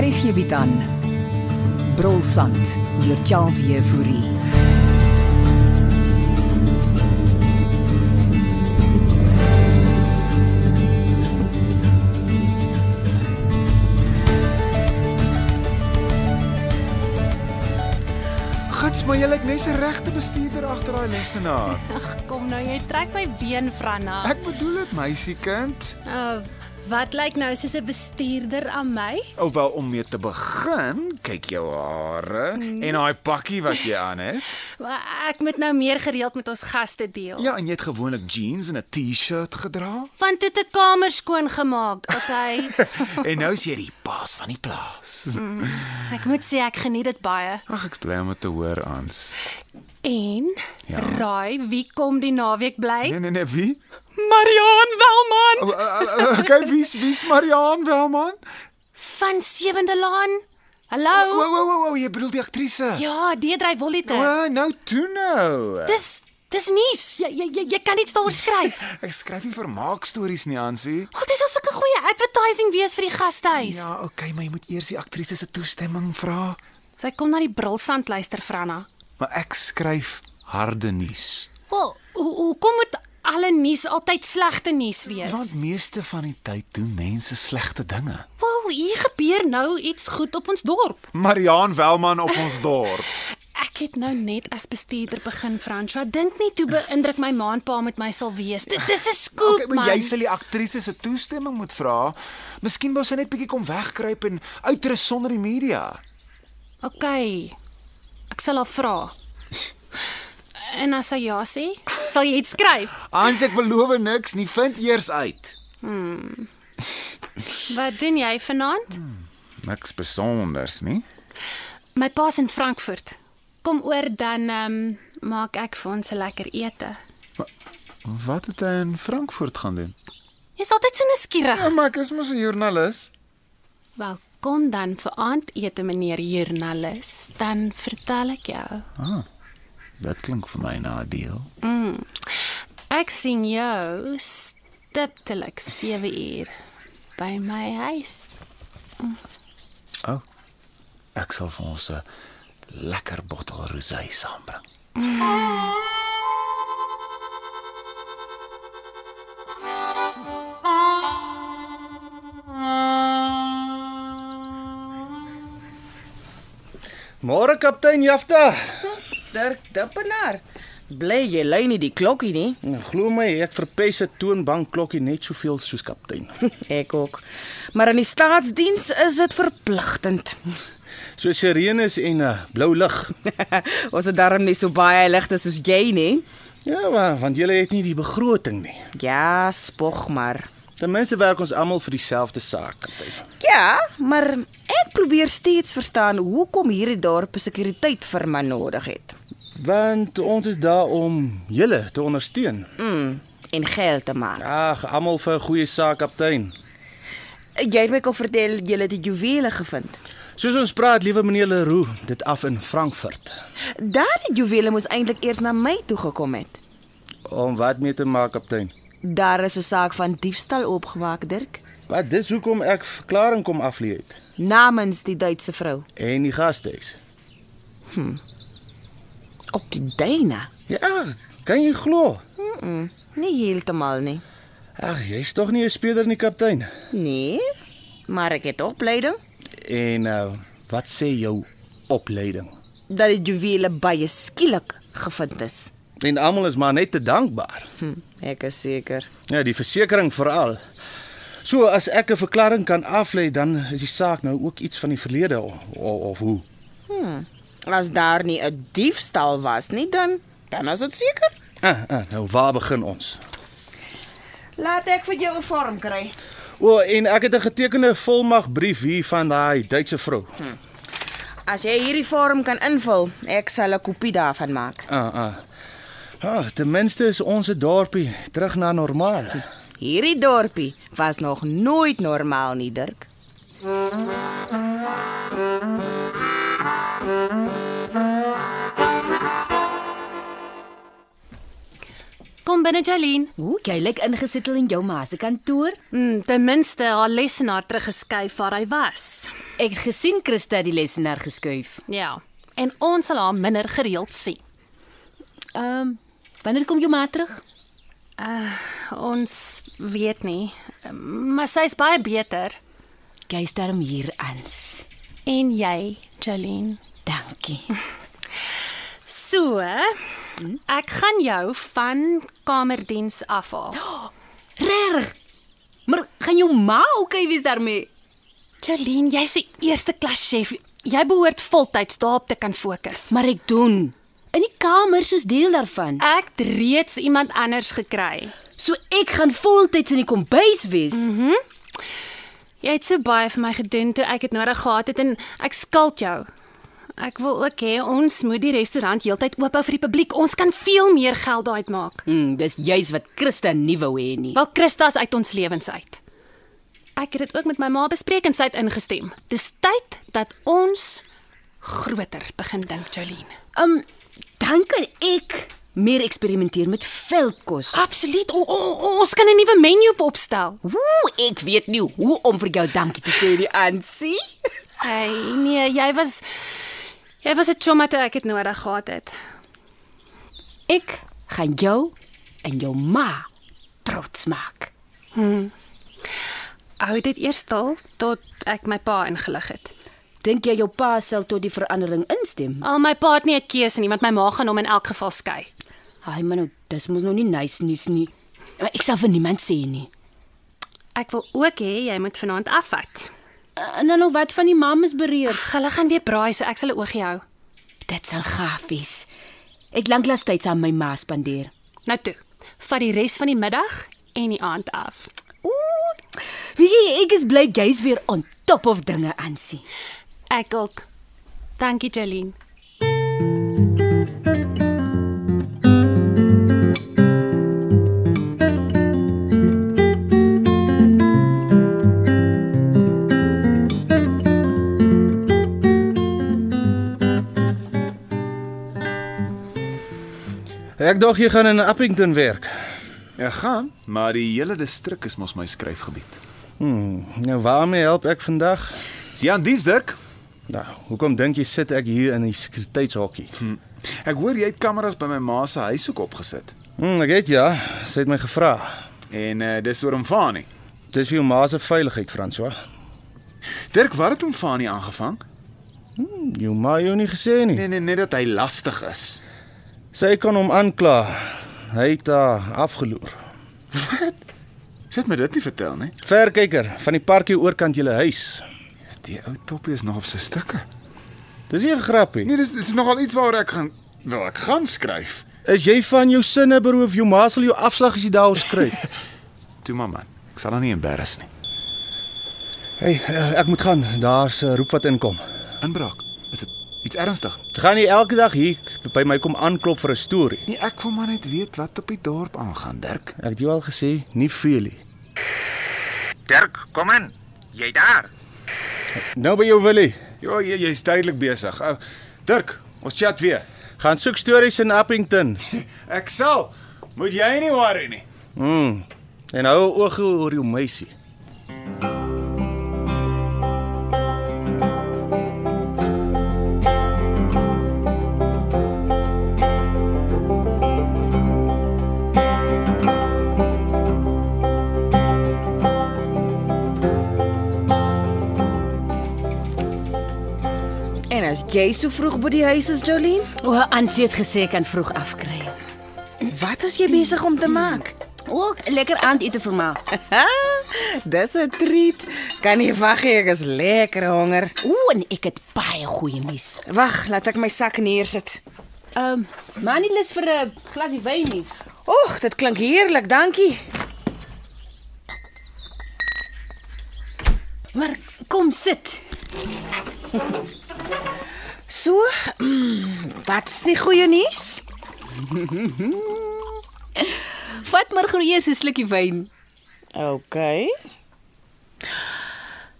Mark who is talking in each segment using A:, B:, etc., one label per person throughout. A: Hier is hierby dan. Brolsand deur Charles Jefouri.
B: Gits, maar jy lyk net 'n regte bestuurder agter daai lesenaar.
C: Ag kom nou, jy trek my been Franna.
B: Ek bedoel dit, meisiekind.
C: Uh, wat lyk nou soos 'n bestuurder aan my?
B: Alhoewel Oh, om mee te begin, kyk jou hare en daai pakkie wat jy aan het.
C: Maar Ek moet nou meer gereeld met ons gaste deel.
B: Ja, en jy het gewoonlik jeans en 'n T-shirt gedra
C: Want dit 'n kamer skoon gemaak. Okay.
B: en nou is jy die baas van die plaas.
C: ek moet sê ek geniet dit baie.
B: Ag, ek's bly om dit te hoor aans.
C: En
B: Ja.
C: ja. raai wie kom die naweek bly?
B: Nee nee nee, wie?
C: Marian Welman
B: O, o, o, Okay, wie's wie's Marian Welman?
C: van Sewende Laan.
B: O,
C: Hallo.
B: o, o, o, jy bedoel die aktrise.
C: Ja, Deedrey Wolliter.
B: O, nou toe nou.
C: Dis dis nuus. Jy jy jy- jy kan iets daaroor skryf.
B: Ek skryf nie vermaak stories nie, Ansie.
C: God, dit sal sulke goeie advertising wees vir die gastehuis.
B: Ja, okay, maar jy moet eers die aktrise se toestemming vra.
C: Sy kom na die brilsand luister, Franna.
B: Maar ek skryf harde nuus.
C: Wel, hoe hoe kom dit alle nuus altyd slegte nuus wees?
B: Want meeste van die tyd doen mense slegte dinge.
C: wel, hier gebeur nou iets goed op ons dorp.
B: Marian Welman op ons dorp.
C: Ek het nou net as bestuurder begin, François. Dink nie toe beïndruk my ma en pa met my sal wees. Dit dis 'n skoop,
B: Okay,
C: man.
B: maar jy sal die aktrise se toestemming moet vra. Miskien wou sy net bietjie kom wegkruip en uitrus sonder die media.
C: Okay. Ek sal haar vra. En as sy ja sê, sal jy iets skryf.
B: Hans, ek beloof niks nie. Vind eers uit.
C: Wat doen jy vanaand?
B: Niks besonders nie.
C: My pa's in Frankfurt. Kom oor dan ehm um, maak ek vir ons 'n lekker ete.
B: Wat het hy in Frankfurt gaan doen? Ja,
C: Jy's altyd so nuuskierig.
B: maar ek is mos 'n joernalis.
C: Welkom dan vir aandete meneer joernalis. Dan vertel ek jou.
B: Dit klink vir my na 'n deal.
C: Ek sien jou stiptelik 7 uur by my huis.
B: Ek sal vir ons 'n lekker bottel rosé saambring.
D: Môre kaptein Jafta.
E: Dirk Dippenaar. Bly jy lei nie die klokkie nie.
D: Nou, Glo my, ek verpes 'n toonbank klokkie net soveel soos kaptein.
E: Ek ook. Maar in die staatsdiens is dit verpligtend.
D: So sirenes en 'n uh, blou lig.
E: Ons het darm nie so baie ligte soos jy nie.
D: Ja, maar, want julle het nie die begroting nie.
E: Ja, spog maar.
D: Ten minste werk ons almal vir dieselfde saak, kaptein.
E: Ja, maar ek probeer steeds verstaan hoekom hierdie dorp sekuriteit vir my nodig het.
D: Want ons is daar om julle te ondersteun.
E: Mm, en geld te maak.
D: Ag, almal vir 'n goeie saak, kaptein.
E: Jy het my al vertel jy het die juwele gevind.
D: Soos ons praat, liewe meneer Leroux, dit af in Frankfurt.
E: Daardie juwele moes eintlik eers na my toe gekom het.
D: Om wat mee te maak, kaptein?
E: Daar is 'n saak van diefstal oopgemaak, Dirk,
D: Wat dis hoekom ek verklaring kom aflê het
E: namens die Duitse vrou.
D: en die gastehuis.
E: Op die Dyna?
D: Ja, kan jy glo?
E: Nie heeltemal nie.
D: Ag, jy's tog nie 'n speler nie, kaptein.
E: Nee, maar ek het opleiding
D: En uh, wat sê jou opleiding?
E: dat die juwele baie skielik gevind is.
D: En almal is maar net te dankbaar.
E: Hm, ek is seker.
D: Ja, die versekering veral. So as ek 'n verklaring kan aflê, dan is die saak nou ook iets van die verlede of, of hoe.
E: Hm, As daar nie 'n diefstal was nie, dan dan is dit seker.
D: Ah, ah, nou waar begin ons?
E: Laat ek vir jou 'n vorm kry.
D: O, en ek het 'n getekende volmagbrief hier van daai Duitse vrou.
E: As jy hierdie vorm kan invul, ek sal 'n kopie daarvan maak.
D: Ah, ah. Ah, ten minste is ons dorpie terug na normaal.
E: Hierdie dorpie was nog nooit normaal nie, Dirk.
C: Kom binne Jaline.
F: Hoe jy lyk ingesetel in jou ma se kantoor?
C: Mm, ten minste haar lesenaar teruggeskuif waar hy was.
F: Ek het gesien Christa het die lesenaar geskuif.
C: Ja. En ons sal haar minder gereeld sien.
F: Ehm, wanneer kom jou ma terug?
C: Ons weet nie, maar sy's baie beter.
F: Jy's darm hier ans.
C: En jy, Jaline.
F: Dankie.
C: So, ek gaan jou van kamerdiens afhaal.
F: Reg. Maar gaan jou ma okay wees daarmee?
C: Jaline, jy's 'n eerste klas chef. Jy behoort voltyds daarop te kan fokus.
F: Maar ek doen. In die kamers is deel daarvan.
C: Ek het reeds iemand anders gekry.
F: So ek gaan voltyds in die kombuis wees. Mm.
C: Jy het so baie vir my gedoen toe ek dit nodig gehad het en ek skuld jou. Ek wil ook hê ons moet die restaurant heeltyd oop hou vir die publiek. Ons kan veel meer geld daai maak.
F: Mm, dis juis wat Christa nie wou hê nie.
C: Wel Christus uit ons lewens uit. Ek het dit ook met my ma bespreek en sy het ingestem. Dis tyd dat ons groter begin dink, Jolene.
F: Um dan kan ek meer eksperimenteer met veldkos.
C: Absoluut. O, o, o, ons kan 'n nuwe menu op- opstel.
F: Ooh, ek weet nie hoe om vir jou dankie te sê nie, Ansie.
C: Hey, nee, jy was jy was 'n chomma toe ek dit nodig gehad het.
F: Ek gaan jou en jou ma trots maak.
C: Hou dit eers stil tot ek my pa ingelig het.
F: Dink jy jou pa sal tot die verandering instem?
C: Al my pa het nie 'n keuse nie, want my ma gaan hom in elk geval skei.
F: Ai man, nou, dis mos nog nie nice nuus nie. Maar ek sal vir niemand sê nie.
C: Ek wil ook hê jy moet vanaand afvat.
F: En dan nou wat van die mammas bereer?
C: Hulle gaan weer braai, so ek sal 'n oogie hou.
F: Dit sal gaaf wees. Ek lanklaas tyd saam met my ma spandeer.
C: Nou toe. Vat die res van die middag en die aand af.
F: Ooh. Weet jy, ek is bly jy's weer on top of dinge, Ansie.
C: Ek ook. Dankie Jeline.
D: Ek dog jy gaan in Appington werk.
B: Ja, gaan, maar die hele distrik is mos my skryfgebied.
D: Hm, nou waarmee help ek vandag?
B: Is jy aan diens, Dirk?
D: Nou, hoekom dink jy sit ek hier in die sekuriteitshokkie?
B: Ek hoor jy het kameras by my ma se huishoek opgesit.
D: Hm, ek weet ja, sy het my gevra.
B: En uh, dis oor Mfani.
D: Dis vir jou ma se veiligheid, François.
B: Dirk, wat het Mfani aangevang?
D: Jou ma het jou nie gesê nie.
B: Nee nee, net dat hy lastig is.
D: Sy kan hom aankla. Hy het haar afgeloer.
B: Sy het my dit nie vertel nie.
D: Verkyker van die parkie oorkant julle huis.
B: Die ou toppie is nog op sy stukke.
D: Dis nie 'n grappie.
B: Nee, dis dis is nogal iets waaroor ek gaan wel ek gaan skryf.
D: Is jy van jou sinne beroof? Jou ma sal jou afslag as jy daaroor skryf.
B: Toe maar man, ek sal haar nie embarrass nie.
D: hey, eh, ek moet gaan. Daar's 'n roep wat inkom.
B: Inbraak. Is dit iets ernstig?
D: Jy gaan nie elke dag hier by my kom aanklop vir 'n storie.
B: Nee, ek wil maar net weet wat op die dorp aangaan, Dirk.
D: Ek het jou al gesê, nie veel nie.
G: Dirk, kom in. Jy daar?
D: Nou by jou Willie.
B: Ja, jy jy's duidelik besig.
D: Ah,
B: Ou Dirk, ons chat weer.
D: Gaan soek stories in Appington.
B: Ek sal. Moet jy nie worry nie.
D: Mm. En hou 'n oog oor jou meisie.
E: En as jy so vroeg by die huis is, Jolene,
F: O, Ansie het gesê ek kan vroeg afkry.
E: wat is jy besig om te maak?
F: Ook lekker aandete vir my.
E: Dis 'n treat. Kan nie wag nie, ek is lekker honger.
F: Ooh, en ek het baie goeie nuus.
E: Wag, laat ek my sak neersit.
F: Ehm, um, maar nie lus vir 'n glasie wyn nie.
E: Oeg, dit klink heerlik, dankie.
F: Maar kom sit.
E: So, wat's die goeie nuus?
F: Vat maar gou eers 'n slukkie wyn.
E: OK.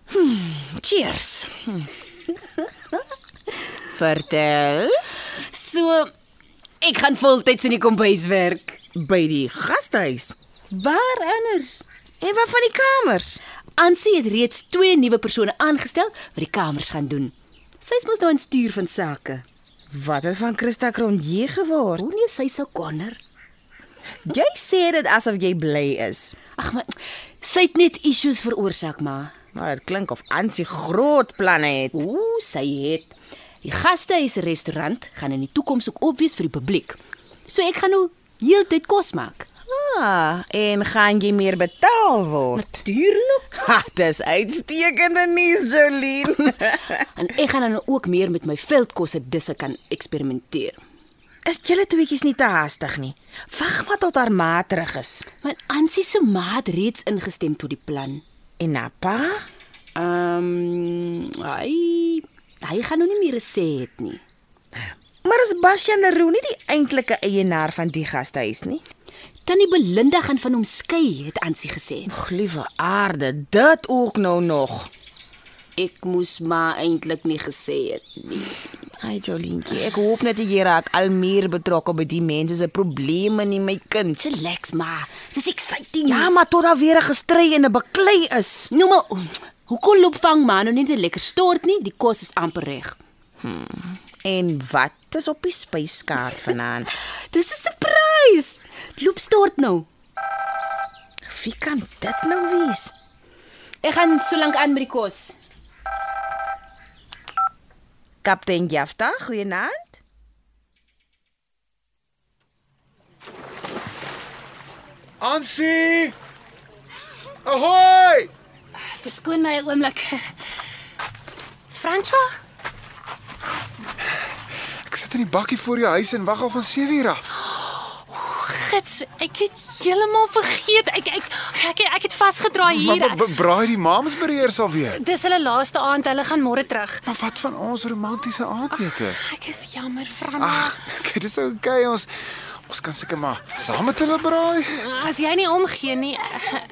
E: Hmm, Cheers. Hm. Vertel
F: So ek gaan voltyds in die kombuis werk.
E: by die gastehuis.
F: Waar anders?
E: En wat van die kamers?
F: Ansie het reeds twee nuwe persone aangestel wat die kamers gaan doen. Sy's mos nou in stuur van sake.
E: Wat het van Christa Cronje geword?
F: Hoe nee, sy sou konner.
E: Jy sê dit asof jy bly is.
F: Ag maar sy het net issues veroorsaak maar.
E: Maar dit klink of Ansie groot planne het.
F: Ooh, sy het. Die gastehuis restaurant gaan in die toekoms ook op wees vir die publiek. So ek gaan nou heeltyd kos maak.
E: Ah, en gaan jy meer betaal word?
F: Natuurlik.
E: Ha, dis uitstekende nuus, Jolien.
F: En ek gaan dan nou ook meer met my veldkosse disse kan eksperimenteer.
E: is julle tweeetjies nie te haastig nie? Wag maar tot haar ma terug is.
F: Want Ansie se ma het reeds ingestem tot die plan.
E: En na pa?
F: Ehm, um, hy hy gaan nou nie meer 'n sê het nie.
E: Maar is Bastian Leroux nie die eintlike eienaar van die gastehuis nie?
F: Tannie Belinda gaan van hom skei, het Ansie gesê.
E: Gliewe aarde, dit ook nou nog.
F: Ek moes maar eintlik nie gesê het nie.
E: Ai Jolientjie, ek hoop net die Here raak al meer betrokke by die mense se probleme nie, my kind.
F: Relax maar. Dis exciting.
E: Ja, maar tot daar weer 'n gestry en 'n baklei is.
F: Nou maar, oom, hoekom loop vang man nou net 'n lekker stort nie? Die kos is amper reg.
E: En wat is op die spyskaart vanaand?
F: Dis 'n surprise. Loop stort nou.
E: Wie kan dit nou wees?
F: Ek gaan so lank aan met die kos.
E: Kaptein Jafta, goeienaand.
B: Ansie! Ahoy!
C: Verskoon my 'n oomblik. François,
B: Ek sit in die bakkie voor jou huis en wag al van 7:00 af.
C: gits, ek het heeltemal vergeet. Ek ek ek ek het vasgedraai
B: Maar b-
C: hier.
B: b- braai die maamsbeheers al weer.
C: Dis hulle laaste aand. Hulle gaan môre terug.
B: Maar wat van ons romantiese aandete?
C: Ek is jammer, François.
B: Ag, kyk, dis okay ons ons kan seker maar saam met hulle braai.
C: As jy nie omgee nie,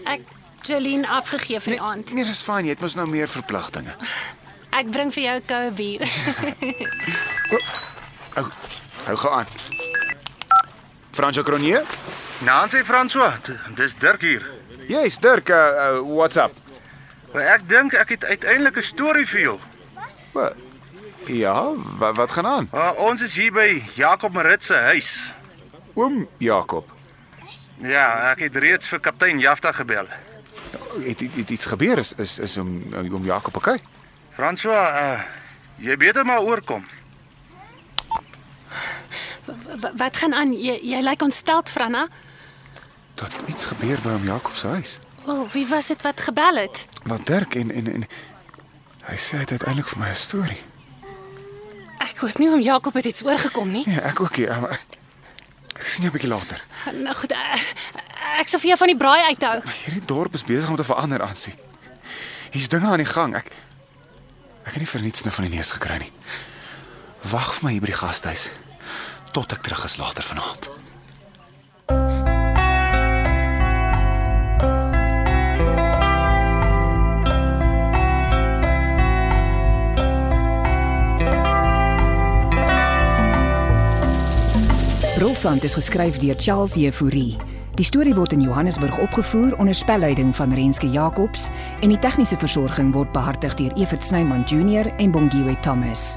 C: ek Jolene afgegee vir die aand.
B: Nee, dis fyn, jy het mos nou meer verpligtinge.
C: Ek bring vir jou 'n koue bier.
B: Ou, hou gou aan. Franco Cronier?
G: Naan sê François, d- dis Dirk hier.
B: Jy's Dirk, uh, uh, what's up?
G: Maar ek dink ek het uiteindelik 'n storie vir jou.
B: Wat? Ja, wat, wat gaan aan?
G: Uh, ons is hier by Jakob Marit se huis.
B: Oom Jakob,
G: Ja, ek het reeds vir kaptein Jafta gebel.
B: het, het, het iets gebeur is is is om om Jakob okay?
G: François, uh, jy beter maar oorkom.
C: Wa- Wat gaan aan? Jy, jy lyk ontsteld, Franna.
B: Dat iets gebeur by hom Jakob se huis.
C: Wel, wie was dit wat gebel het?
B: Want Dirk en en en hy sê hy het uiteindelik vir my 'n storie.
C: Ek hoop nie om Jakob het iets oorgekom nie.
B: Nee, ek ook nie. eh, maar Ek, ek sien jou 'n bietjie later.
C: Nou goed, ek, ek sal vir jou van die braai uithou.
B: Hierdie dorp is besig om te verander, Ansie. Hier's dinge aan die gang. Ek ek het nie vir niks nou van die neus gekry nie. Wag vir my hier by die gastehuis tot ek terug is later vanaand.
A: Brulsand is geskryf deur Charles Jefouri. Die storie word in Johannesburg opgevoer onder spelleiding van Renske Jacobs en die tegniese versorging word behartig deur Evert Snyman Junior en Bongwe Thomas.